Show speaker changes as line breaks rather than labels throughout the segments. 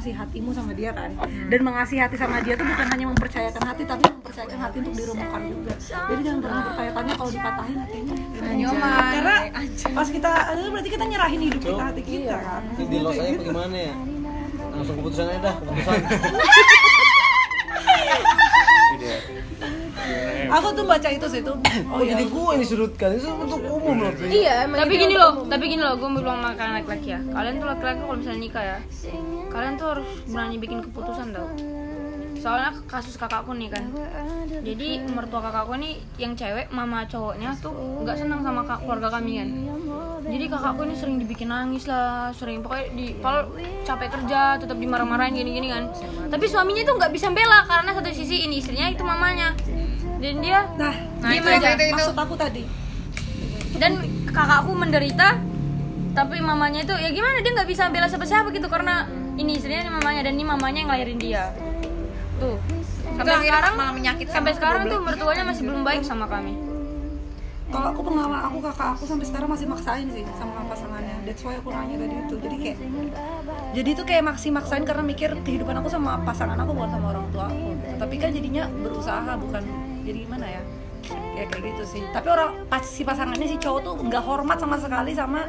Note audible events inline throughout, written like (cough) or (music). kasih hatimu sama dia kan dan mengasihi hati sama dia tuh bukan hanya mempercayakan hati tapi mempercayakan hati untuk dirumahkan juga jadi jangan pernah percaya tanya kalau dipatahin hatinya
nyoman
karena pas kita aduh, berarti kita nyerahin hidup kita hati kita kan
Ini di los aja apa gimana ya? Langsung keputusan aja dah, keputusan.
aku tuh baca itu sih tuh
Oh, jadi gue yang disudutkan. Itu untuk umum loh.
Iya, tapi gini loh, tapi gini loh, gue mau bilang sama kalian laki-laki ya. Kalian tuh laki-laki kalau misalnya nikah ya, kalian tuh harus berani bikin keputusan tau. Soalnya kasus kakakku nih kan, jadi mertua kakakku nih yang cewek, mama cowoknya tuh nggak senang sama kak, keluarga kami kan. Jadi kakakku ini sering dibikin nangis lah, sering pokoknya di kalau capek kerja tetap dimarah-marahin gini-gini kan. Tapi suaminya tuh nggak bisa bela karena satu sisi ini istrinya itu mamanya. Dan dia
nah
Nah,
itu,
itu,
aja.
itu, itu.
maksud aku tadi
dan kakakku menderita tapi mamanya itu ya gimana dia nggak bisa bela siapa siapa gitu karena ini istrinya ini mamanya dan ini mamanya yang ngelahirin dia tuh sampai sekarang
malah menyakitkan
sampai sekarang tuh mertuanya masih belum baik sama kami
kalau aku pengalaman aku kakak aku sampai sekarang masih maksain sih sama pasangannya that's why aku nanya tadi itu jadi kayak jadi itu kayak maksi maksain karena mikir kehidupan aku sama pasangan aku bukan sama orang tua aku gitu. tapi kan jadinya berusaha bukan jadi gimana ya ya kayak gitu sih tapi orang pas si pasangannya si cowok tuh nggak hormat sama sekali sama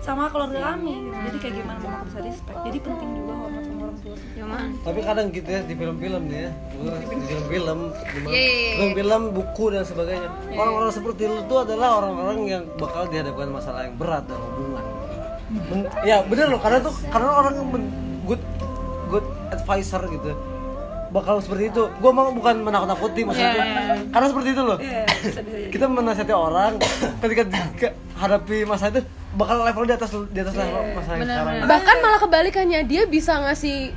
sama keluarga kami gitu. jadi kayak gimana mama aku bisa respect jadi penting juga hormat sama orang tua
cuma
Tapi kadang gitu ya di film-film nih ya, gua di film-film, gimana? film-film, buku dan sebagainya. Orang-orang seperti lu itu adalah orang-orang yang bakal dihadapkan masalah yang berat dalam hubungan. Men- ya bener loh, karena tuh karena orang yang men- good good advisor gitu bakal seperti itu. Gua mau bukan menakut-nakuti maksudnya. Karena seperti itu loh.
Eh,
Kita menasihati orang ketika dihadapi masalah itu bakal level di atas di atas level
Iya,
masalah yang sekarang.
bahkan malah kebalikannya dia bisa ngasih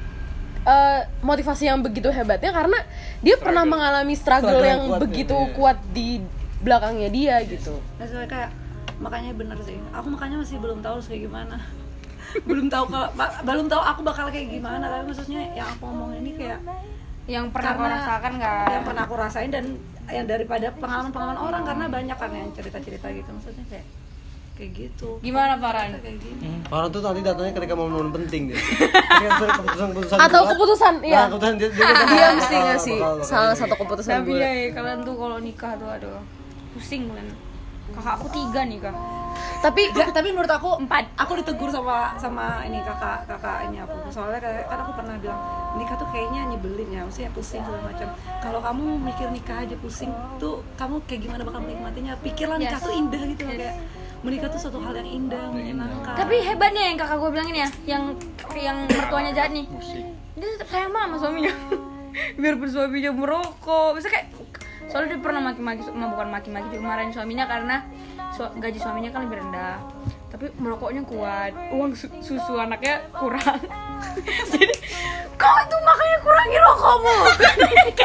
eh, motivasi yang begitu hebatnya karena dia pernah mengalami struggle,
Struggle
yang
yang kuat
begitu
gitu ya.
kuat di belakangnya dia gitu
Terus mereka kayak makanya bener sih. Aku makanya masih belum tahu harus kayak gimana. (laughs) belum tahu kalau ba- belum tahu aku bakal kayak gimana tapi maksudnya yang aku ngomongin ini kayak
yang pernah kau
Karena-
rasakan nggak
yang pernah aku rasain dan yang daripada pengalaman-pengalaman orang karena banyak kan yang cerita-cerita gitu maksudnya kayak kayak gitu
gimana Farhan
kayak gini
Orang tuh nanti datangnya ketika momen-momen
(laughs)
penting dia. Ketika keputusan-keputusan
atau
berat,
keputusan
Nah,
iya
keputusan dia, dia,
(laughs) dia mesti ngasih salah satu keputusan
tapi
gue
ya kalian tuh kalau nikah tuh aduh pusing kalian kakakku tiga nikah
tapi
Nggak, tapi menurut aku
Empat.
aku ditegur sama sama ini kakak kakaknya aku soalnya kayak- kan aku pernah bilang nikah tuh kayaknya nyebelin ya maksudnya pusing segala macam kalau kamu mikir nikah aja pusing tuh kamu kayak gimana bakal menikmatinya pikirlah nikah
Yes.
tuh indah gitu loh, kayak menikah tuh suatu hal yang indah menyenangkan Iya,
tapi hebatnya yang kakak gue bilangin ya yang yang mertuanya jahat nih dia tetap sayang banget sama suaminya (laughs) biarpun suaminya merokok bisa kayak soalnya dia pernah maki-maki su- bukan maki-maki dia marahin suaminya karena su- gaji suaminya kan lebih rendah tapi merokoknya kuat uang su- susu anaknya kurang (laughs) jadi kau itu makanya kurangi rokokmu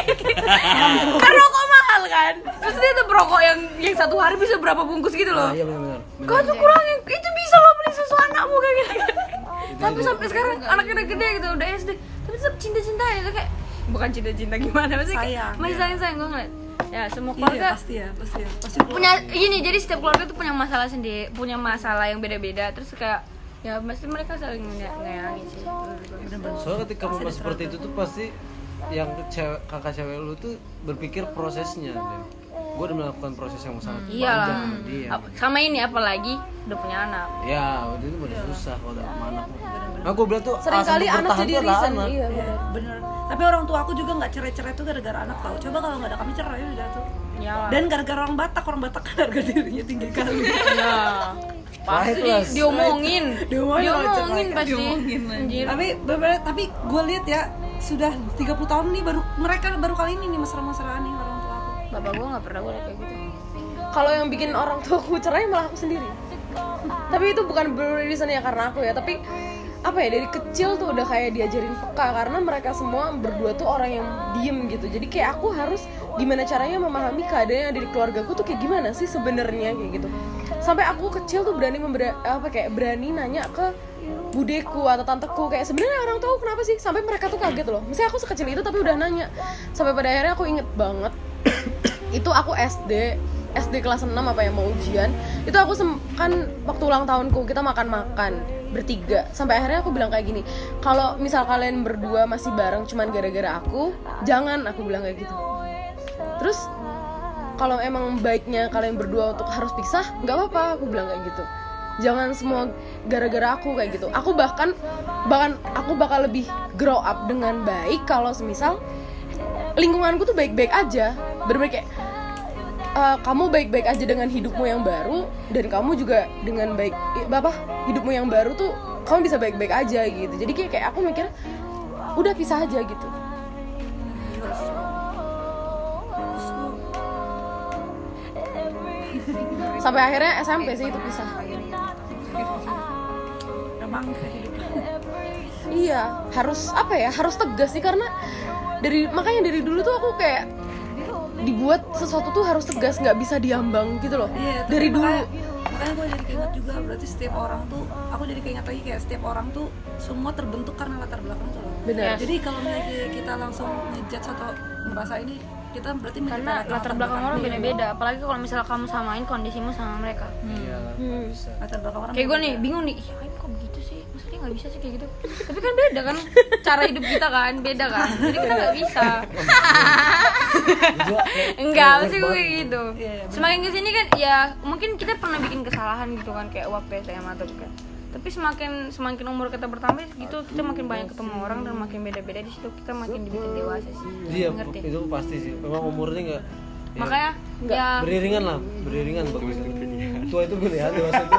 (laughs) karena rokok mahal kan terus dia tuh rokok yang yang satu hari bisa berapa bungkus gitu loh
Ah, iya benar-benar.
Kau tuh kurangin, itu bisa lo beli susu anakmu kayak gitu. (laughs) Tapi sampai sekarang anaknya udah gede gitu, udah SD. Tapi tetap cinta-cinta ya, tuh kayak bukan cinta-cinta gimana maksudnya kayak
Sayang,
masih
ya.
sayang-sayang gue ngeliat. Ya semua
iya,
keluarga
pasti ya pasti ya pasti
punya gini, jadi setiap keluarga tuh punya masalah sendiri, punya masalah yang beda-beda. Terus kayak ya pasti mereka saling nge- ngeyangin sih.
Soalnya ketika momen seperti itu tuh pasti yang cewek, kakak cewek lu tuh berpikir prosesnya dan gue udah melakukan proses yang sangat
Hmm,
panjang
Iyalah.
sama dia.
Ap- Sama ini apalagi udah punya anak.
Ya, waktu itu udah susah kalau udah sama anak. Nah, gue bilang tuh
Iya, seringkali
alasan
anak
bertahan
jadi
tuh adalah
reason
anak.
iya
Iya, bener tapi orang tua aku juga nggak cerai-cerai tuh gara-gara anak tau coba kalau nggak ada kami cerai udah tuh
(laughs) Iyalah.
dan gara-gara orang Batak orang Batak kan harga dirinya tinggi kali
(laughs) Iya.
Pahit
Pasti
lah.
diomongin.
Diomongin,
Diomongin
diceraikan.
pasti. Anjir.
tapi bener tapi gue lihat ya sudah 30 tahun nih baru mereka baru kali ini nih mesra-mesraan nih orang tua aku
Bapak gue gak pernah gue kayak gitu
kalau yang bikin orang tuaku cerai malah aku sendiri tapi itu bukan beririsan ya karena aku ya tapi apa ya dari kecil tuh udah kayak diajarin peka karena mereka semua berdua tuh orang yang diem gitu jadi kayak aku harus gimana caranya memahami keadaan yang ada di keluargaku tuh kayak gimana sih sebenarnya kayak gitu sampai aku kecil tuh berani membera- apa kayak berani nanya ke budeku atau tanteku kayak sebenarnya orang tahu kenapa sih sampai mereka tuh kaget loh misalnya aku sekecil itu tapi udah nanya sampai pada akhirnya aku inget banget itu aku SD ya, SD kelas 6 apa yang mau ujian itu aku sem- kan waktu ulang tahunku kita makan-makan bertiga sampai akhirnya aku bilang kayak gini kalau misal kalian berdua masih bareng cuman gara-gara aku jangan aku bilang kayak gitu terus kalau emang baiknya kalian berdua untuk harus pisah nggak apa-apa aku bilang kayak gitu jangan semua gara-gara aku kayak gitu aku bahkan bahkan aku bakal lebih grow up dengan baik kalau semisal lingkunganku tuh baik-baik aja bener kayak eh, kamu baik-baik aja dengan hidupmu yang baru dan kamu juga dengan baik eh, apa hidupmu yang baru tuh kamu bisa baik-baik aja gitu jadi kayak kayak aku mikir udah pisah aja gitu sampai akhirnya SMP sih itu pisah
emang gitu. kehidupan
Iya, harus apa ya? Harus tegas sih karena dari makanya dari dulu tuh aku kayak dibuat sesuatu tuh harus tegas, nggak bisa diambang gitu loh.
Iya, tapi
dari dulu.
makanya, makanya gue jadi keinget juga berarti setiap orang tuh aku jadi keinget lagi kayak setiap orang tuh semua terbentuk karena latar belakang tuh loh.
Benar.
jadi kalau misalnya kita langsung ngejudge atau merasa ini kita berarti
karena
menciptakan
latar belakang orang beda-beda apalagi kalau misalnya kamu samain kondisimu sama mereka
Iya, (laughs) bisa.
latar belakang orang
kayak gue nih bingung nih ih Aim kok begitu sih masa dia nggak bisa sih kayak gitu tapi kan beda kan cara hidup kita kan beda kan jadi kita nggak bisa
Gua kayak-
enggak sih gue kayak gitu semakin kesini kan ya mungkin kita pernah bikin kesalahan gitu kan kayak waktu SMA atau kan tapi semakin semakin umur kita bertambah gitu kita makin banyak ketemu orang dan makin beda-beda di situ kita makin dibikin dewasa sih
Iya,
ngerti
itu pasti sih. Memang umurnya enggak ya,
makanya ya
beriringan lah, beriringan bagus. Tua itu pilihan,
(laughs)
dewasa itu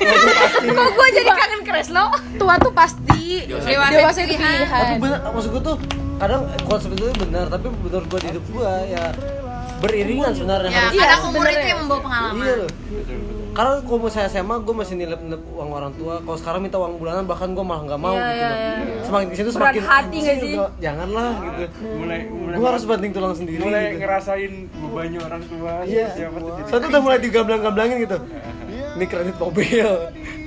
kok gue jadi kangen crush lo
Tua tuh pasti dewasa,
tapi
itu pilihan.
bener maksud gue tuh kadang konsep itu benar tapi menurut gue di hidup gue ya beriringan sebenarnya
ya
harus
karena
sebenarnya.
umur itu yang membawa pengalaman
iya loh karena kalau saya SMA gue masih nilai nilai uang orang tua kalau sekarang minta uang bulanan bahkan gue malah nggak mau gitu loh. semakin kesini
Iya, Berat
semakin
hati nggak
anjing,
sih?
gua- janganlah gitu
Iya. mulai mulai
gue harus banting tulang sendiri
mulai
gitu.
ngerasain bebannya orang tua
Iya.
siapa tuh jadi
Satu udah mulai digamblang-gamblangin gitu. Ini kredit mobil.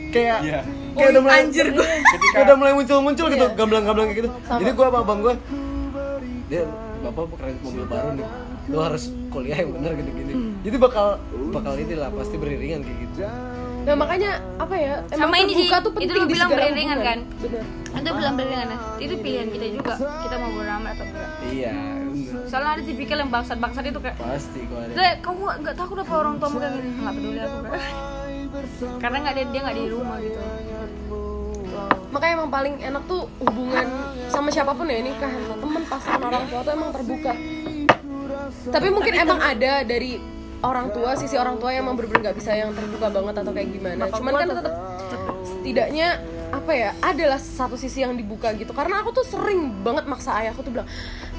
Kayak
Iya.
kayak udah mulai anjir gue. Kayak udah mulai muncul-muncul gitu gamblang-gamblang kayak gitu. Jadi gua sama abang gua dia Bapak kredit mobil baru nih. Lo harus kuliah yang benar gini-gini. Jadi bakal bakal inilah pasti beriringan kayak gitu.
Nah, makanya apa ya? Emang
Sama ini
terbuka
sih,
tuh penting
itu lu
di
bilang
segala
beriringan
hubungan.
kan?
Bener. Ah, iya,
itu bilang beriringan ya itu pilihan kita juga kita mau beramal atau enggak
Iya, bener.
soalnya ada tipikal yang bangsat-bangsat itu kayak
Pasti gua ada.
Dek, kamu nggak- nggak takut apa orang tua kayak gini? Nggak peduli
(laughs)
aku Kak. Karena nggak ada dia nggak di rumah gitu.
Iya.
kan?
Makanya emang paling enak tuh hubungan sama siapapun ya nikahan sama temen pasangan orang tua tuh emang terbuka. Tapi mungkin emang ada dari orang tua sisi orang tua yang emang bener-bener nggak bisa yang terbuka banget atau kayak gimana. Cuman kan tetap setidaknya apa ya adalah satu sisi yang dibuka gitu karena aku tuh sering banget maksa ayahku tuh bilang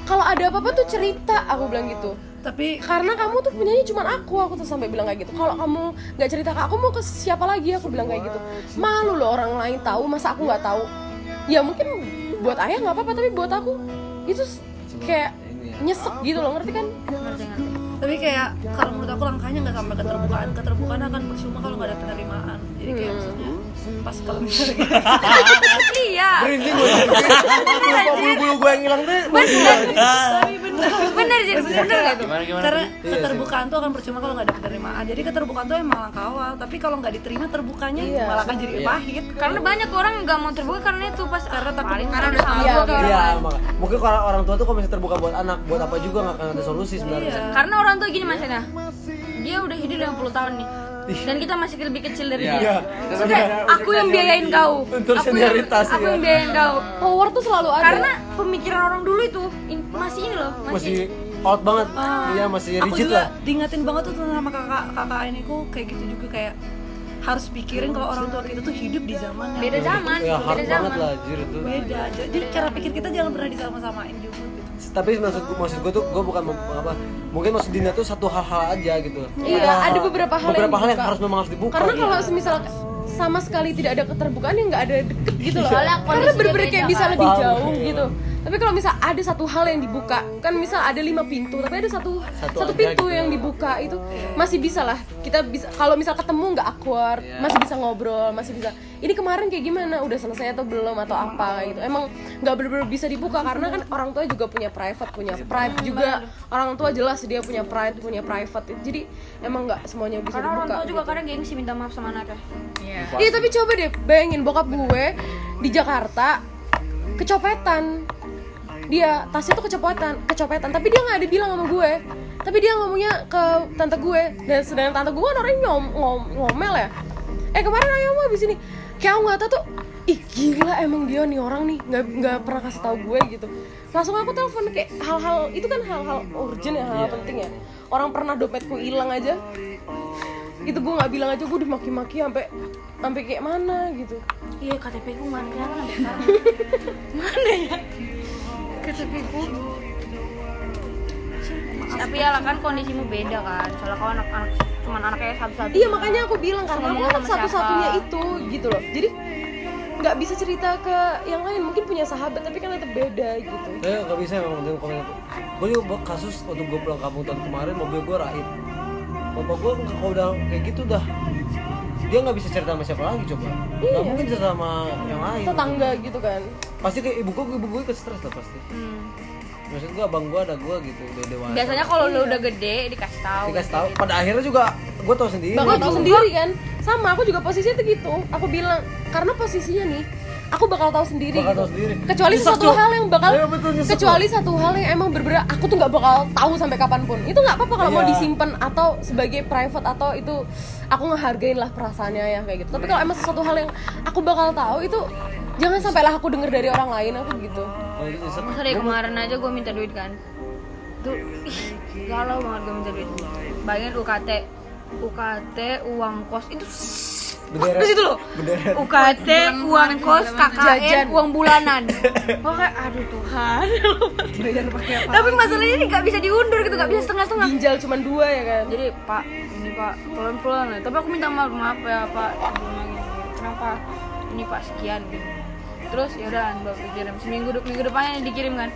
kalau ada apa-apa tuh cerita aku bilang gitu
tapi
karena kamu tuh punyanya cuma aku aku tuh sampai bilang kayak gitu kalau kamu nggak cerita ke aku mau ke siapa lagi aku bilang kayak gitu malu loh orang lain tahu masa aku nggak tahu ya mungkin buat ayah nggak apa-apa tapi buat aku itu s- kayak
ya.
nyesek gitu loh ngerti kan
tapi kayak kalau menurut aku langkahnya nggak sampai keterbukaan keterbukaan akan percuma kalau nggak ada penerimaan jadi kayak
Hmm.
maksudnya pas kalau
(laughs)
misalnya
Iya,
Merinding gua. Lupa bulu-bulu gua yang hilang deh. Iya.
bener sih, bener nggak tuh?
gimana gimana
karena keterbukaan tuh akan percuma kalau nggak ada penerimaan jadi keterbukaan tuh emang langkah awal tapi kalau nggak diterima terbukanya
Iya.
malah akan jadi pahit
Karena banyak orang nggak mau terbuka karena itu pas karena
takut-
paling karena udah sama gua kayak
Iya,
orang lain.
emang. mungkin kalau orang tua tuh kalau misalnya terbuka buat anak, buat apa juga nggak akan ada solusi sebenarnya.
Karena orang tua gini mas Ena, dia udah hidup 50 tahun nih,
Iya.
dan kita masih lebih kecil dari dia. Terus kayak, aku yang biayain kau,
Unsur
aku yang,
senioritas,
aku
iya.
yang biayain kau.
power tuh selalu ada
Karena pemikiran orang dulu itu in- masih ini loh, masih
Masih out banget.
Ah.
Iya, masih
Ah, aku
rigid
juga
lah.
diingatin banget tuh sama kakak kakak iniku kayak gitu juga kayak harus pikirin kalau orang tua kita tuh hidup di zaman yang
beda zaman,
ya hard
beda
banget
zaman.
lah anjir itu
beda jadi cara pikir kita jangan pernah disama-samain juga gitu
tapi maksud gue maksud gue tuh gue bukan mem- apa mungkin maksud Dina tuh satu hal-hal aja gitu
Iya, ada beberapa hal yang
beberapa hal yang
dibuka.
harus memang harus dibuka
karena
gitu.
kalau semisal sama sekali tidak ada keterbukaan yang nggak ada deket gitu loh
Soalnya
karena
kondisinya
bener-bener kayak
beda,
bisa
kan?
lebih
Paham.
jauh gitu tapi kalau misal ada satu hal yang dibuka kan misal ada lima pintu tapi ada satu satu,
Satu ada
pintu
gitu.
yang dibuka itu masih bisa lah kita bisa kalau misal ketemu nggak awkward
Iya.
masih bisa ngobrol masih bisa ini kemarin kayak gimana udah selesai atau belum atau apa kayak gitu emang nggak bener-bener bisa dibuka karena kan orang tua juga punya private punya private juga orang tua jelas dia punya private punya private jadi emang nggak semuanya bisa
karena
dibuka
orang tua juga
gitu.
kadang gengsi minta maaf sama anaknya
Iya tapi coba deh bayangin bokap gue di Jakarta kecopetan dia tasnya tuh kecopetan kecopetan tapi dia nggak ada bilang sama gue tapi dia ngomongnya ke tante gue dan sedangkan tante gue kan orangnya nyom, ngom- ngomel ya eh kemarin ayo mau abis ini kayak aku nggak tahu tuh ih gila emang dia nih orang nih nggak nggak pernah kasih tahu gue gitu langsung aku telepon kayak hal-hal itu kan hal-hal urgent ya hal-hal penting ya orang pernah dompetku hilang aja itu gue nggak bilang aja gue dimaki-maki sampai sampai kayak mana gitu
iya KTP ku mana kenapa sampai sekarang mana ya KTP ku tapi ya lah kan kondisimu beda kan soalnya kau anak-anak cuman anaknya satu-satu
iya makanya aku bilang karena aku
Ngomong
anak
sama
satu-satunya
siapa?
itu gitu loh jadi nggak bisa cerita ke yang lain mungkin punya sahabat tapi kan tetap beda gitu
Eh, gak bisa emang dengan komen aku. Gue juga buat kasus waktu gue pulang kampung tahun kemarin mobil gue rahib. Bapak gue nggak kalau udah kayak gitu dah. Dia nggak bisa cerita sama siapa lagi coba. Nggak mungkin cerita sama yang lain.
Iya. tetangga gitu kan
Pasti kayak ibu gue, ibu gue ikut stres lah pasti. Maksud gue abang gue ada gue gitu udah dewasa.
Hmm. biasanya kalau
Iya.
lu udah gede dikasih tahu gitu.
dikasih tahu. Pada akhirnya juga gue tau sendiri.
bakal tahu
gitu.
sendiri kan sama aku juga posisinya tuh gitu aku bilang karena posisinya nih aku bakal tahu sendiri
Bakal
gitu.
tahu sendiri.
kecuali
Nyesek,
satu
Cok.
hal yang bakal
Iya, betul, nyesek,
kecuali satu hal yang emang berbeda aku tuh nggak bakal tahu sampai kapanpun itu nggak apa-apa kalau mau
Iya.
disimpan atau sebagai private atau itu aku ngehargain lah perasaannya ya kayak gitu tapi kalau emang sesuatu hal yang aku bakal tahu itu jangan sampailah aku denger dari orang lain aku gitu
Kalau gitu nyesek.
Masa dari kemarin aja gue minta duit kan Tuh, ih, galau banget gue minta duit Bayangin UKT UKT, uang kos, itu
Bendera.
Terus itu loh
Bendera.
UKT, uang kos, KKN, uang
(laughs)
bulanan Wah kayak, aduh Tuhan Tapi masalahnya ini gak bisa diundur gitu, gak bisa setengah-setengah
ginjal cuman dua ya kan
Jadi pak, ini pak, pelan-pelan ya Tapi aku minta maaf, maaf ya pak Sebelumnya gini. Kenapa? Ini pak sekian gitu Terus yaudah bapak kirim Seminggu minggu depannya dikirim kan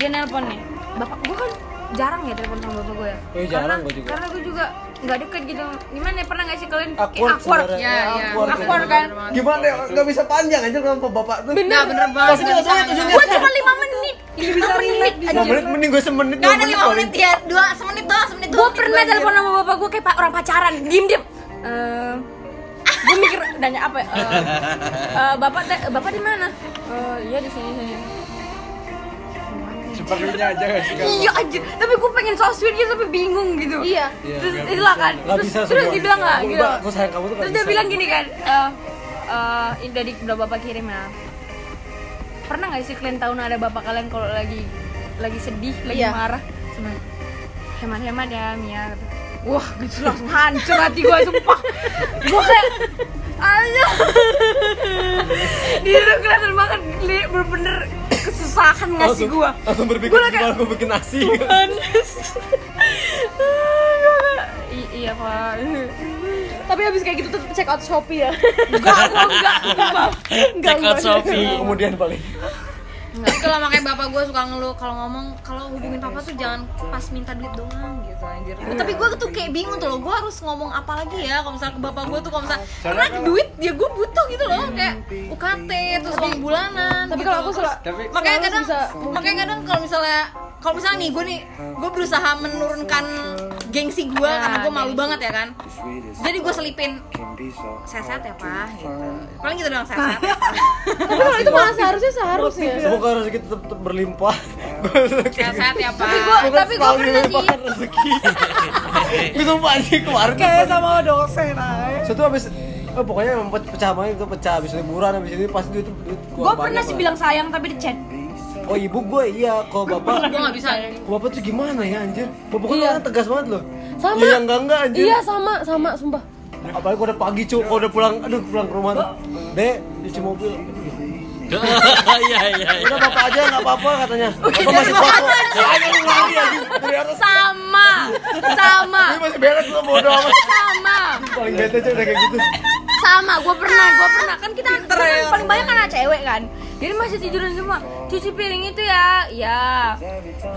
Dia nelpon nih Bapak gue kan jarang ya telepon sama bapak gue ya
Eh, jarang gue juga.
Karena gue juga nggak deket gitu Gimana ya, pernah gak sih kalian kayak
Awkward
awkward ya,
sebenarnya. Ya,
awkward,
awkward.
kan
Gimana ya? Gak bisa panjang aja kenapa bapak tuh?
bener bener
Pasti nggak tahu tujuannya.
Gue kan? cuma 5 menit 5 menit
Lima menit, mending gue semenit
Gak
dua
ada
menit
lima
paling.
menit ya, dua semenit doang, semenit
Gue
doang.
pernah telepon sama bapak gue kayak pa- orang pacaran Diem-diem gue mikir nanya apa ya? Eh, eh, bapak teh- bapak di mana? Eh, iya di sini sini.
seperlunya aja gak sih Kak?
Iya aja, tapi gue pengen so sweet gitu tapi bingung gitu. Iya.
Iya,
Terus
nggak
itulah kan.
Gak
Terus
bisa
terus dia bilang nggak gitu.
Gue sayang kamu tuh gak
Terus dia
bisa.
bilang gini kan, eh eh, ini dari udah bapak kirim ya. Pernah nggak sih kalian tahu nah ada bapak kalian kalau lagi lagi sedih, lagi
Iya.
marah? Cuman, Hemat-hemat ya Mia. kata. Wah, gitu langsung hancur hati gue sumpah. Gue kayak aja. Dia udah kelihatan banget li- bener-bener kesusahan ngasih
Langsung-
gue.
Langsung berpikir
Gua udah
gimana gue bikin nasi.
I- iya pak.
tapi habis kayak gitu tetap check out shopee ya (laughs)
Check out Shopee. Kemudian balik.
Tapi kalau makanya bapak gue suka ngeluh kalau ngomong kalau hubungin papa tuh jangan pas minta duit doang gitu anjir.
Iya.
Tapi gue tuh kayak bingung tuh loh, gue harus ngomong apa lagi ya kalau misalnya ke bapak gue tuh kalau misalnya karena duit ya gue butuh gitu loh kayak UKT terus uang bulanan.
tapi
gitu
kalau
loh.
aku
Terus-
sel-
Tapi-
makanya
selalu
kadang
bisa
makanya kadang kalau misalnya kalau misalnya nih gue nih gue berusaha menurunkan gengsi gue karena gue malu banget ya kan jadi gue selipin sehat ya pak gitu. paling gitu doang sehat
tapi kalau itu malah seharusnya ya. seharusnya
Eh, Semoga rezeki tetap tetap berlimpah.
sehat ya pak
Tapi gue pernah rezeki. Gue sumpah anjing kemarin. Kayak sama dosen aja. Satu abis eh, pokoknya emang pe- pecah banget itu pecah abis liburan abis ini pasti duit duit
Gue pernah sih bilang sayang tapi di chat.
oh ibu gue iya kok bapak
gue nggak bisa
bapak tuh gimana ya anjir bapak gue
Iya.
orang tegas banget loh
Sama.
iya enggak enggak anjir
iya sama sama sumpah
apalagi kalau udah pagi cuy kalau udah pulang aduh pulang ke rumah dek cuci mobil
(laughs) Iya iya.
udah bapak aja nggak apa-apa katanya bapak masih foto Kayaknya lu lari anjing dari atas
Sama, sama,
Ini masih beres lo bodo amat
sama.
paling bete aja udah kayak gitu
sama gue pernah gue pernah kan kita kan paling banyak kan anak cewek kan jadi masih tiduran semua cuci piring itu ya ya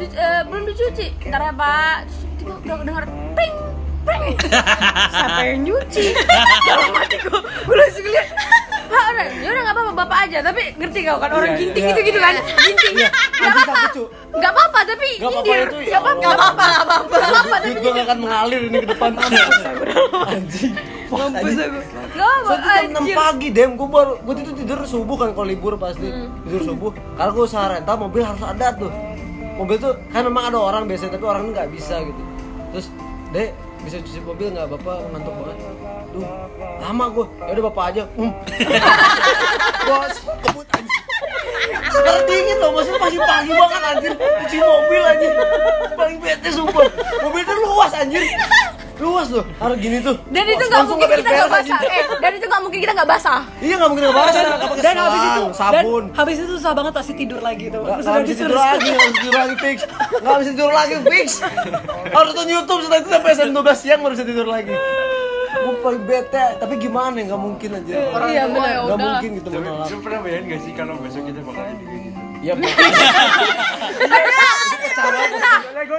Cuci- eh, belum dicuci ntar ya pak terus tiba udah dengar ping
(laughs)
ping siapa yang nyuci dalam hati gue gue langsung lihat Pak, udah, ya udah nggak apa-apa bapak aja, tapi ngerti kau kan orang
Iya,
ginting
iya.
gitu gitu kan, ginting
Iya,
nggak apa-apa, nggak apa-apa tapi
Nggak apa-apa
nyindir,
itu, ya
Iya, nggak apa-apa, nggak apa-apa, nggak apa-apa, nggak apa-apa, tapi
Duit gue akan mengalir ini ke depan Anjing Mampus aku
nggak
Satu
apa-apa,
jam enam pagi dem, gue baru gue itu tidur subuh kan kalau libur pasti
Hmm.
tidur subuh. Karena gue usaha rental mobil harus ada tuh. Mobil tuh kan memang ada orang biasanya tapi orang nggak bisa gitu. Terus dek bisa cuci mobil nggak bapak ngantuk banget. Duh lama gue, ya udah bapak aja. Um. (laughs) Bos kebut anjing. Sekarang dingin loh, maksudnya pagi-pagi banget anjir Cuci mobil anjir Paling bete sumpah Mobil tuh luas anjir Luas loh, harus gini tuh
Dan itu
Langsung
nggak mungkin kita nggak
beres-beres, anjing.
basah. Eh, dan itu nggak mungkin kita nggak basah.
Iya nggak mungkin nggak basah, nggak pakai
dan habis itu
selang, sabun.
dan habis itu susah banget pasti tidur lagi tuh
Nggak
Terus
nggak
udah
bisa
disuruh-
tidur lagi, nggak bisa tidur lagi fix, nggak bisa tidur lagi fix. Harus nonton YouTube setelah itu sampai jam 12 siang baru bisa tidur lagi. Gue paling bete, tapi gimana ya nggak mungkin aja. Orang
Iya, bener,
nggak
udahlah.
mungkin gitu
Tapi
menolak.
lu pernah bayangin gak sih kalau besok kita bakal jadi kayak gitu?
Ya mungkin.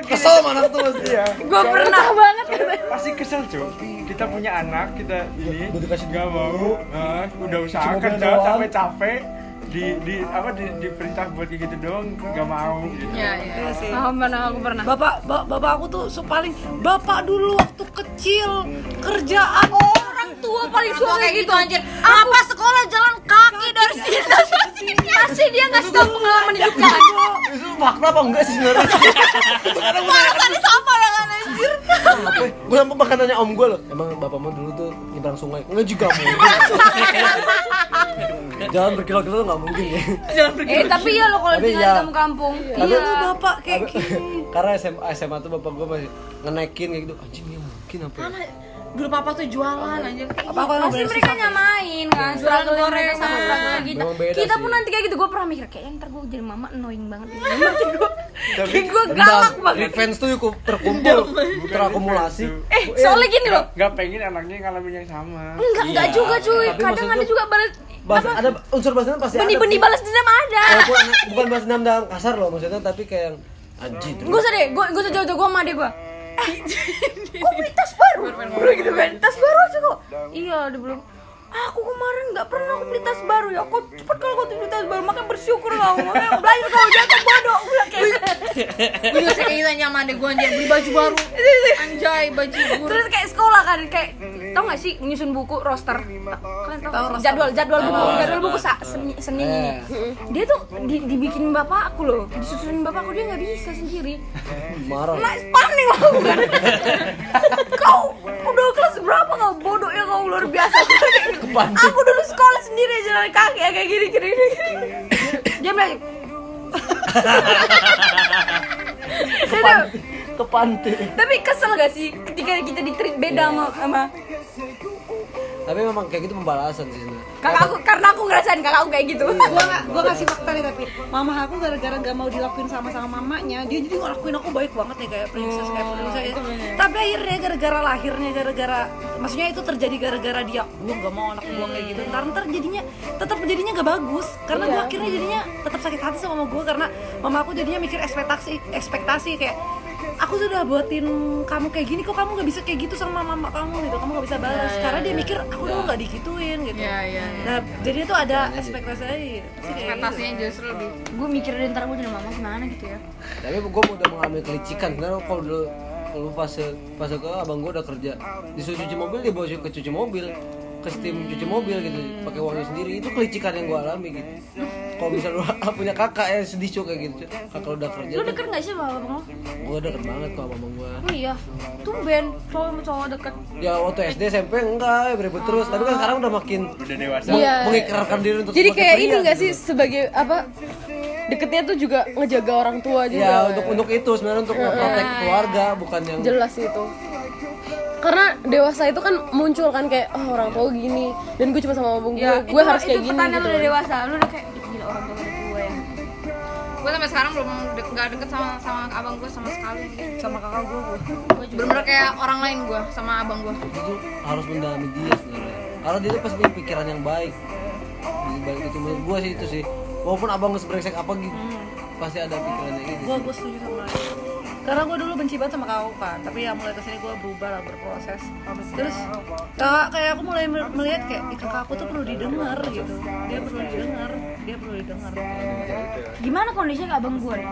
Kesel mana tuh pasti
Iya.
ya.
Gue pernah banget.
Pasti kesel cok. Kita punya anak, kita ini
Udah Iya, dikasih
nggak
dulu.
mau, eh, udah usaha
Cuma
kerja
doang.
capek-capek di di apa di, diperintah buat kayak gitu doang nggak mau gitu.
Iya sih.
Aku pernah, aku pernah.
Bapak, ba- bapak aku tuh su- paling bapak dulu waktu kecil kerjaan orang
Tua paling suka kayak gitu anjir.
Apa sekolah jalan kaki dari sini?
Pasti dia ngasih tau pengalaman hidupnya. kan.
Itu makna apa enggak sih sebenarnya? Karena gue nanya,
Tadi sama ya kan anjir.
gue sampai bahkan nanya om gue loh, emang bapakmu dulu tuh nyebrang sungai? Enggak juga mungkin. Jalan berkilo-kilo tuh nggak mungkin ya.
Eh, tapi ya lo kalau
Tapi
tinggal
iya.
di kampung kampung.
Tapi-
Iya.
bapak kayak
Tapi- karena SMA, SMA tuh bapak gue masih ngenekin kayak gitu anjing ini mungkin apa ya?
Dulu papa tuh jualan anjir.
apa aku emang
Pasti
bener
mereka
susah?
nyamain kan, struggle mereka sama struggle kita.
Memang beda
Gitu. Kita
sih.
pun nanti kayak gitu, gue pernah mikir kayaknya ntar gue jadi mama annoying banget. (laughs) Nanti gue,
Tapi-
kayak gue
Dendam.
galak banget.
Revenge tuh yuk terkumpul terakumulasi
Eh, soalnya gini loh,
gitu, nggak pengen anaknya ngalamin yang sama
enggak enggak juga cuy.
Iya. Tapi
Kadang
maksud
ada
gua-
juga balas
Bahas, ada unsur bahasa pasti ada
benih-benih
tuh.
balas dendam ada.
Walaupun anak- bukan bahasa dendam dalam kasar loh maksudnya tapi kayak yang anjing terus
Gue sedih, gue gue sejauh itu gue sama adik gue. (laughs) Eh, kok beli tas baru? Gue gitu kan, tas baru aja kok. Iya, dia bilang. Aku kemarin nggak pernah aku beli tas baru ya. Kok cepet kalau kau beli tas baru, makanya bersyukur lah. Makanya belajar kau jatuh bodoh. Gue bilang kayak gitu.
Gue juga sih kayak gitu anjir sama adek gue anjir beli baju baru. Anjay baju guru.
Terus kayak sekolah kan, kayak tau gak sih nyusun buku roster? Kalian tau nggak? Eh, jadwal
Nah,
jadwal buku, jadwal buku sa, seni, seni ini. Dia tuh di- dibikin bapak aku loh, disusun bapak aku dia nggak bisa sendiri.
marah
Nice panik lah aku kan. (laughs) kau udah kelas berapa kau bodoh ya kau luar biasa. aku dulu sekolah sendiri aja jalan kaki ya, kayak gini gini gini. gini. Dia bilang Aduh,
ke pantai
tapi kesel gak sih ketika kita di treat beda sama, sama
tapi memang kayak gitu pembalasan sih sebenarnya
kakak aku karena aku ngerasain kakak aku kayak gitu.
gua nggak- gua kasih fakta nih tapi mama aku gara-gara gak mau dilakuin sama sama mamanya dia jadi ngelakuin aku baik banget nih kayak princess kayak princess ya. tapi akhirnya gara-gara lahirnya gara-gara maksudnya itu terjadi gara-gara dia gua gak mau anak gua kayak gitu ntar ntar jadinya tetap jadinya gak bagus karena gua akhirnya jadinya tetap sakit hati sama mama gua karena mama aku jadinya mikir ekspektasi ekspektasi kayak aku sudah buatin kamu kayak gini kok kamu gak bisa kayak gitu sama mama kamu gitu kamu gak bisa balas karena dia mikir aku dulu gak digituin gitu nah jadi itu ada ekspektasi gitu. aja
Ekspektasinya justru lebih.
Gue mikir ntar gue jadi mama gimana gitu ya.
tapi gue udah mengalami kelicikan karena kalau dulu kalau fase fase ke abang gue udah kerja disuruh cuci mobil dia bawa ke cuci mobil ke steam cuci mobil gitu pakai uangnya sendiri itu kelicikan yang gue alami gitu kalau bisa lu (laughs) punya kakak ya sedih cuy kayak gitu cuy. kakak udah kerja
Lu deket gak sih sama abang lo?
gue deket banget kok sama abang gue
Oh iya, tumben cowok sama cowok deket
ya waktu SD SMP enggak ya beribut terus tapi
Ah.
kan sekarang udah makin
udah dewasa
meng-
Iya.
mengikrarkan diri untuk
Jadi
sebagai
kayak
pria
ini gak
gitu.
sih sebagai apa deketnya tuh juga ngejaga orang tua juga.
Iya.
ya untuk untuk itu sebenarnya untuk memprotek keluarga bukan yang
jelas itu karena dewasa itu kan muncul kan kayak oh, orang tua gini dan gue cuma sama abang gue
Iya, Itu-
gue harus kayak
itu
gini
pertanyaan
gitu.
lu udah dewasa, lu udah kayak "Ih, gila orang tua gue ya
Gue sampai sekarang belum de- nggak deket sama sama abang gue sama sekali. Sama kakak gue. Bener-bener kayak orang lain gue sama abang gue.
itu harus mendalami dia sebenarnya Kalau dia tuh pasti punya pikiran yang baik. Di balik itu menurut gue sih itu sih. Walaupun abang ngesbrengsek apa gitu, pasti ada pikirannya gitu.
gue gue setuju sama lo karena gue dulu benci banget sama kau kan tapi ya mulai kesini gue berubah lah berproses terus kayak kayak aku mulai mel- melihat kayak "Ih, kakak aku tuh perlu didengar gitu dia perlu didengar dia perlu didengar
gimana kondisinya abang gue nih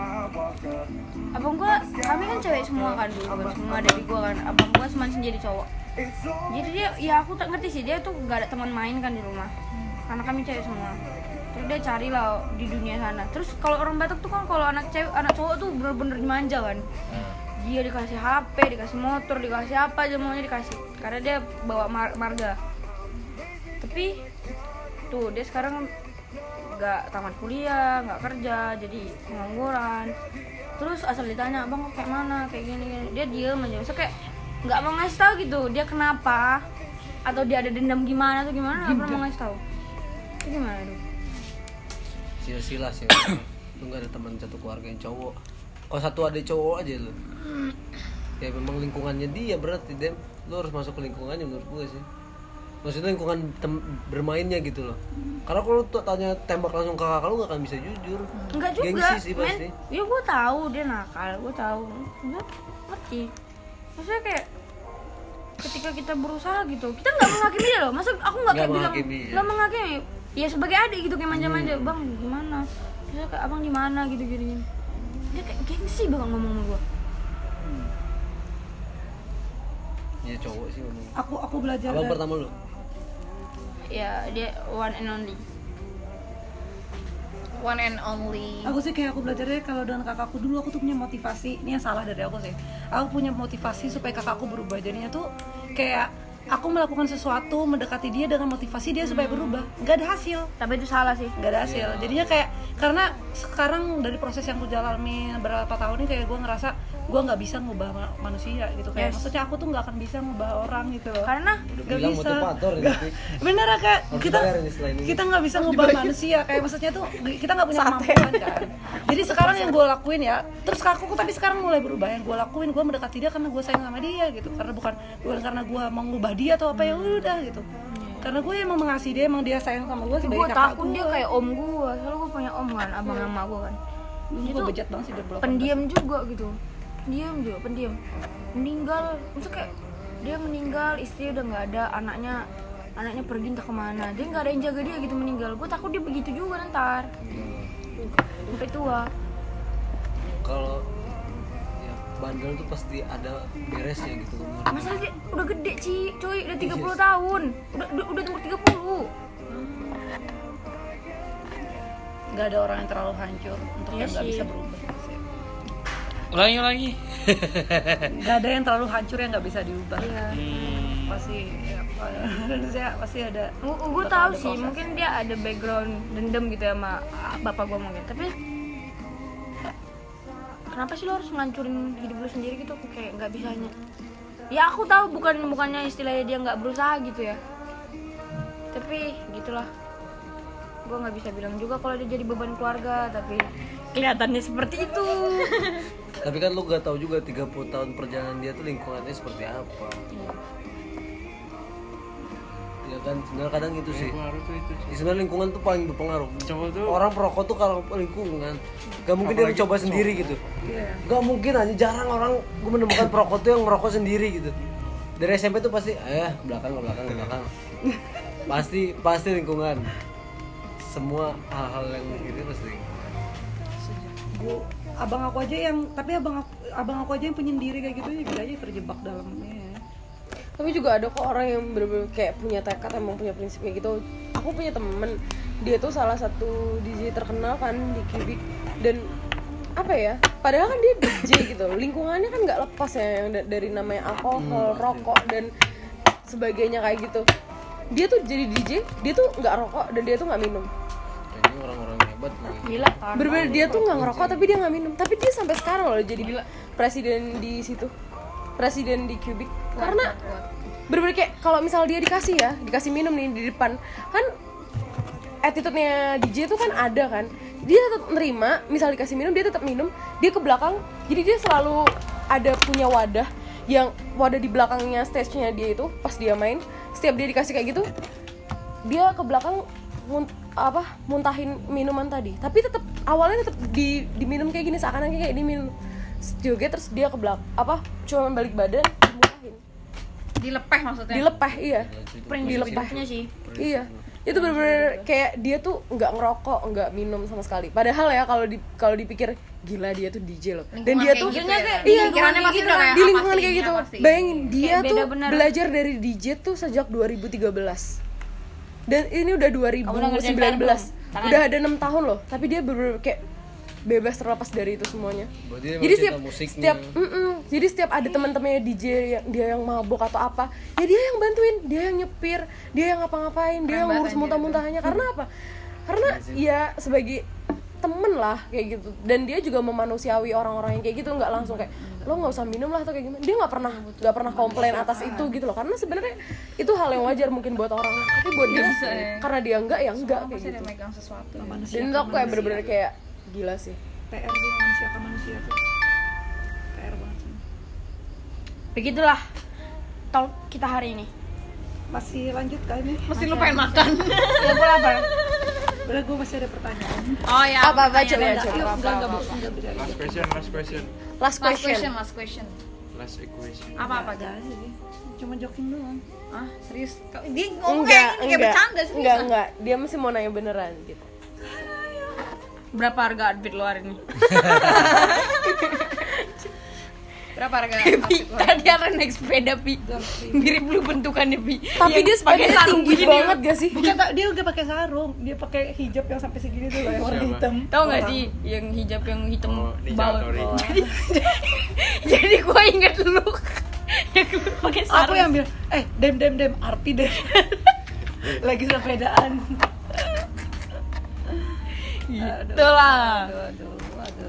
abang gue kami kan cewek semua kan dulu kan semua dari gue kan abang gue cuma sendiri cowok jadi dia ya aku tak ngerti sih dia tuh gak ada teman main kan di rumah karena kami cewek semua terus dia carilah di dunia sana terus kalau orang Batak tuh kan kalau anak cewek anak cowok tuh bener-bener dimanja kan dia dikasih HP dikasih motor dikasih apa aja maunya dikasih karena dia bawa mar- marga tapi tuh dia sekarang nggak tamat kuliah nggak kerja jadi pengangguran terus asal ditanya bang kok kayak mana kayak gini, gini. dia diem aja Maksudnya kayak nggak mau ngasih tahu gitu dia kenapa atau dia ada dendam gimana atau gimana nggak pernah mau ngasih tahu itu gimana tuh
Sila-sila sih. Lu nggak ada teman satu keluarga yang cowok. Kalau satu ada cowok aja lu. Ya memang lingkungannya dia berarti Dem. Lu harus masuk ke lingkungannya menurut gue sih. Maksudnya lingkungan tem- bermainnya gitu loh. Karena kalau lu tuh tanya tembak langsung ke kakak lu nggak akan bisa jujur.
Enggak juga,
Gengsi sih
men.
pasti.
Ya gue tahu dia nakal, gue tahu. Gue ngerti. Maksudnya kayak ketika kita berusaha gitu, kita nggak menghakimi dia loh. Masa aku nggak kayak
Nggak
bilang
menghakimi, ya. Hmm.
nggak menghakimi. Ya sebagai adik gitu kayak manja-manja, bang gimana? Maksudnya kayak abang di mana gitu gitu. gitu. Dia kayak gengsi banget ngomong sama gue.
Iya cowok sih memang.
aku aku belajar
Abang
dari-
pertama lu.
Ya dia one and only.
one and only
aku sih kayak aku belajarnya kalau dengan kakakku dulu aku tuh punya motivasi ini yang salah dari aku sih aku punya motivasi supaya kakakku berubah jadinya tuh kayak aku melakukan sesuatu mendekati dia dengan motivasi dia supaya berubah nggak ada hasil
Tapi itu salah sih.
nggak ada hasil
Iya.
jadinya kayak karena sekarang dari proses yang aku jalani berapa tahun ini kayak gue ngerasa gue nggak bisa ngubah ma- manusia gitu kayak
Yes.
maksudnya aku tuh nggak akan bisa ngubah orang gitu loh
Karena
Udah
Nggak
bilang
bisa.
motivator ya, tapi
bener lah, kayak
Harus
kita
dibayar nih setelah ini.
kita nggak bisa ngubah manusia kayak maksudnya tuh kita nggak punya kemampuan kan jadi sekarang yang gue lakuin ya terus aku tapi sekarang mulai berubah yang gue lakuin gue mendekati dia karena gue sayang sama dia gitu karena bukan bukan karena gue mau ngubah dia atau apa ya
Hmm.
udah gitu karena gue emang mengasihi dia emang dia sayang sama gue
gue
sebagai kakak
Hmm. takut dia kayak om gue. Soalnya gue punya om kan, abang
Iya.
sama gue kan. Dia
gue
tuh
bejat banget sih udah blok
pendiam juga gitu pendiam juga pendiam meninggal itu kayak dia meninggal istri udah nggak ada anaknya anaknya pergi entah kemana dia nggak ada yang jaga dia gitu meninggal gue takut dia begitu juga ntar sampai tua
kalau ya, bandel tuh pasti ada beresnya gitu umur.
masalah dia udah gede Ci, cuy udah 30 tahun udah udah, udah umur 30
nggak ada orang yang terlalu hancur untuk
Iya
yang nggak
sih.
bisa berubah
Ulangi ulangi.
nggak ada yang terlalu hancur yang nggak bisa diubah
iya
Hmm.
pasti ya, manusia pasti (laughs) ada
gue tahu sih mungkin dia ada background dendam gitu ya sama ah, bapak gue mungkin tapi eh, kenapa sih lo harus ngancurin hidup lo sendiri gitu kayak nggak bisanya ya aku tahu bukan bukannya istilahnya dia nggak berusaha gitu ya tapi gitulah gue nggak bisa bilang juga kalau dia jadi beban keluarga tapi kelihatannya seperti (laughs) itu
Tapi kan lu gak tahu juga 30 tahun perjalanan dia tuh lingkungannya seperti apa. Ya kan sebenarnya kadang gitu sih.
Pengaruh tuh itu
Ya, sebenarnya lingkungan tuh paling berpengaruh.
cowok tuh
Orang perokok tuh kalau lingkungan gak mungkin dia mencoba sendiri gitu.
Iya.
Gak mungkin hanya jarang orang gue menemukan perokok tuh yang merokok sendiri gitu. Dari SMP tuh pasti eh ke belakang ke belakang ke belakang. pasti pasti lingkungan. Semua hal-hal yang gitu pasti. lingkungan.
Gua- abang aku aja yang tapi abang aku, abang aku aja yang penyendiri kayak gitu ya bisa aja terjebak dalam ini ya.
tapi juga ada kok orang yang bener-bener kayak punya tekad emang punya prinsip kayak gitu aku punya temen dia tuh salah satu DJ terkenal kan di Kibik dan apa ya padahal kan dia DJ gitu lingkungannya kan nggak lepas ya yang da- dari namanya alkohol rokok dan sebagainya kayak gitu dia tuh jadi DJ dia tuh nggak rokok dan dia tuh nggak minum
Ya, Ini orang-orang hebat lagi.
gila kan
bener dia tuh nggak ngerokok tapi dia nggak minum tapi dia sampai sekarang loh jadi presiden di situ presiden di Cubic karena bener kayak kalau misal dia dikasih ya dikasih minum nih di depan kan attitude-nya DJ tuh kan ada kan dia tetap nerima misal dikasih minum dia tetap minum dia ke belakang jadi dia selalu ada punya wadah yang wadah di belakangnya stage-nya dia itu pas dia main setiap dia dikasih kayak gitu dia ke belakang mun- apa muntahin minuman tadi tapi tetap awalnya tetap di diminum kayak gini seakan-akan kayak diminum joget terus dia ke belakang apa cuma balik badan muntahin
dilepeh maksudnya
dilepeh iya dilepehnya sih iya itu bener-bener kayak dia tuh nggak ngerokok nggak minum sama sekali padahal ya kalau di kalau dipikir gila dia tuh DJ loh dan
Lingkungan
dia
kayak
tuh
gitu ya. Di
iya
lingkungannya pasti udah kayak
di
apa
lingkungan
sih
kayak
ini,
gitu
apa sih?
bayangin dia
Kayak
tuh
beda bener.
belajar dari DJ tuh sejak 2013 dan ini udah 2019 udah ada enam tahun loh tapi dia bener-bener kayak bebas terlepas dari itu semuanya
Berarti dia
jadi
emang
setiap
cinta Iya, musiknya.
setiap mm-mm. jadi setiap ada teman-temannya DJ yang dia yang mabok atau apa ya dia yang bantuin dia yang nyepir dia yang ngapa-ngapain dia yang ngurus muntah-muntahannya karena apa karena ya sebagai temen lah kayak gitu dan dia juga memanusiawi orang-orang yang kayak gitu nggak langsung kayak lo nggak usah minum lah atau kayak gimana dia nggak pernah nggak pernah komplain atas itu gitu loh karena sebenarnya itu hal yang wajar mungkin buat orang tapi buat dia karena dia nggak ya nggak kayak gitu
megang sesuatu
dan itu aku kayak bener-bener kayak gila sih
PR sih manusia ke manusia tuh PR banget sih.
Begitulah talk kita hari ini.
masih lanjut kali ini
mesti lu pengen makan
Ya gue lapar.
udah gue masih ada pertanyaan
oh ya
apa apa coba Iya, coba
enggak enggak bosan enggak bercanda
Last question, last question,
last
last question
question
last question
last equation.
apa apa aja
enggak sih cuma joking doang
ah serius Kau- dia ngomong Oh, kayak ini kayak bercanda ah. sih
enggak enggak dia mesti mau nanya beneran gitu
Berapa harga outfit lo hari ini?
(laughs) berapa harga
Tadi ada naik sepeda pi. Mirip lu bentukannya pi.
tapi dia sepedanya tinggi banget gak sih
bukan tak- dia udah pakai sarung dia pakai hijab yang sampai segini tuh loh yang warna
Siapa?
hitam
Tahu
Oh.
nggak sih yang hijab yang hitam
Oh, Ninja
bawah?
Tori.
Jadi gue inget lu yang lu Ya, pakai
aku
sarung.
yang bilang eh dem dem dem arpi dem (laughs) lagi sepedaan
Itu lah.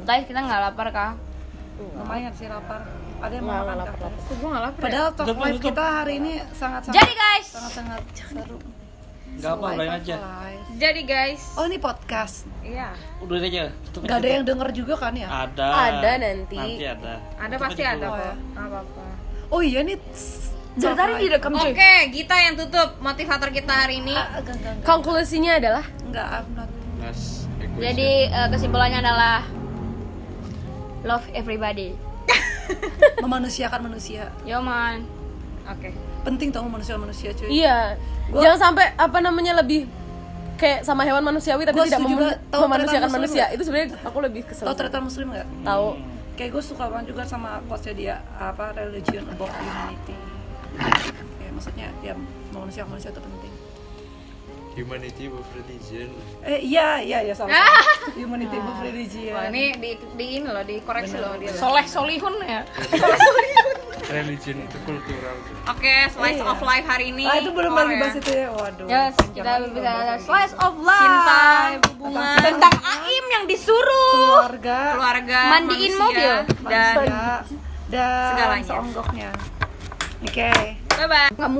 Guys kita nggak lapar kah?
lumayan sih lapar ada yang
Nggak,
mau makan
nggak lapar,
Kak?
Gue nggak lapar.
padahal talk live kita hari ini sangat sangat
Jadi guys,
sangat sangat seru
Gak apa, bayangin aja.
live
jadi guys
oh ini podcast
iya
Udah aja. Tutup
nggak ada yang denger juga kan ya
Ada.
Ada nanti.
Nanti ada.
ada pasti ada kok apa apa
oh iya nih
dari tadi direkam cuy.
oke Gita yang tutup motivator kita hari ini
enggak enggak
konklusinya adalah
enggak I'm not
Last equation.
Jadi eh, kesimpulannya adalah love everybody.
memanusiakan manusia
Yo man.
oke
penting tau manusia manusia cuy
iya jangan sampai apa namanya lebih kayak sama hewan manusiawi tapi
Gua
tidak
setuju
memu-
banget. Tahu
memanusiakan
ternyata
manusia
muslim
itu sebenarnya aku lebih kesel
tau ternyata muslim nggak
tahu
kayak gue suka banget juga sama quotesnya dia apa religion above humanity kayak maksudnya ya manusia manusia itu penting
Humanity with religion.
eh iya iya iya sama
(laughs)
humanity above religion
Wah, ini di, di ini loh dikoreksi loh dia loh.
Soleh solihun ya.
Religion itu kultural.
oke slice of life hari ini
ah itu belum
Korea.
lagi bahas itu ya waduh
Yes, kita bisa slice of life.
cinta hubungan
tentang Aim yang disuruh
keluarga
keluarga
Mandiin
manusia,
mobil.
dan
dan dan
Segalanya.
seonggoknya oke
bye bye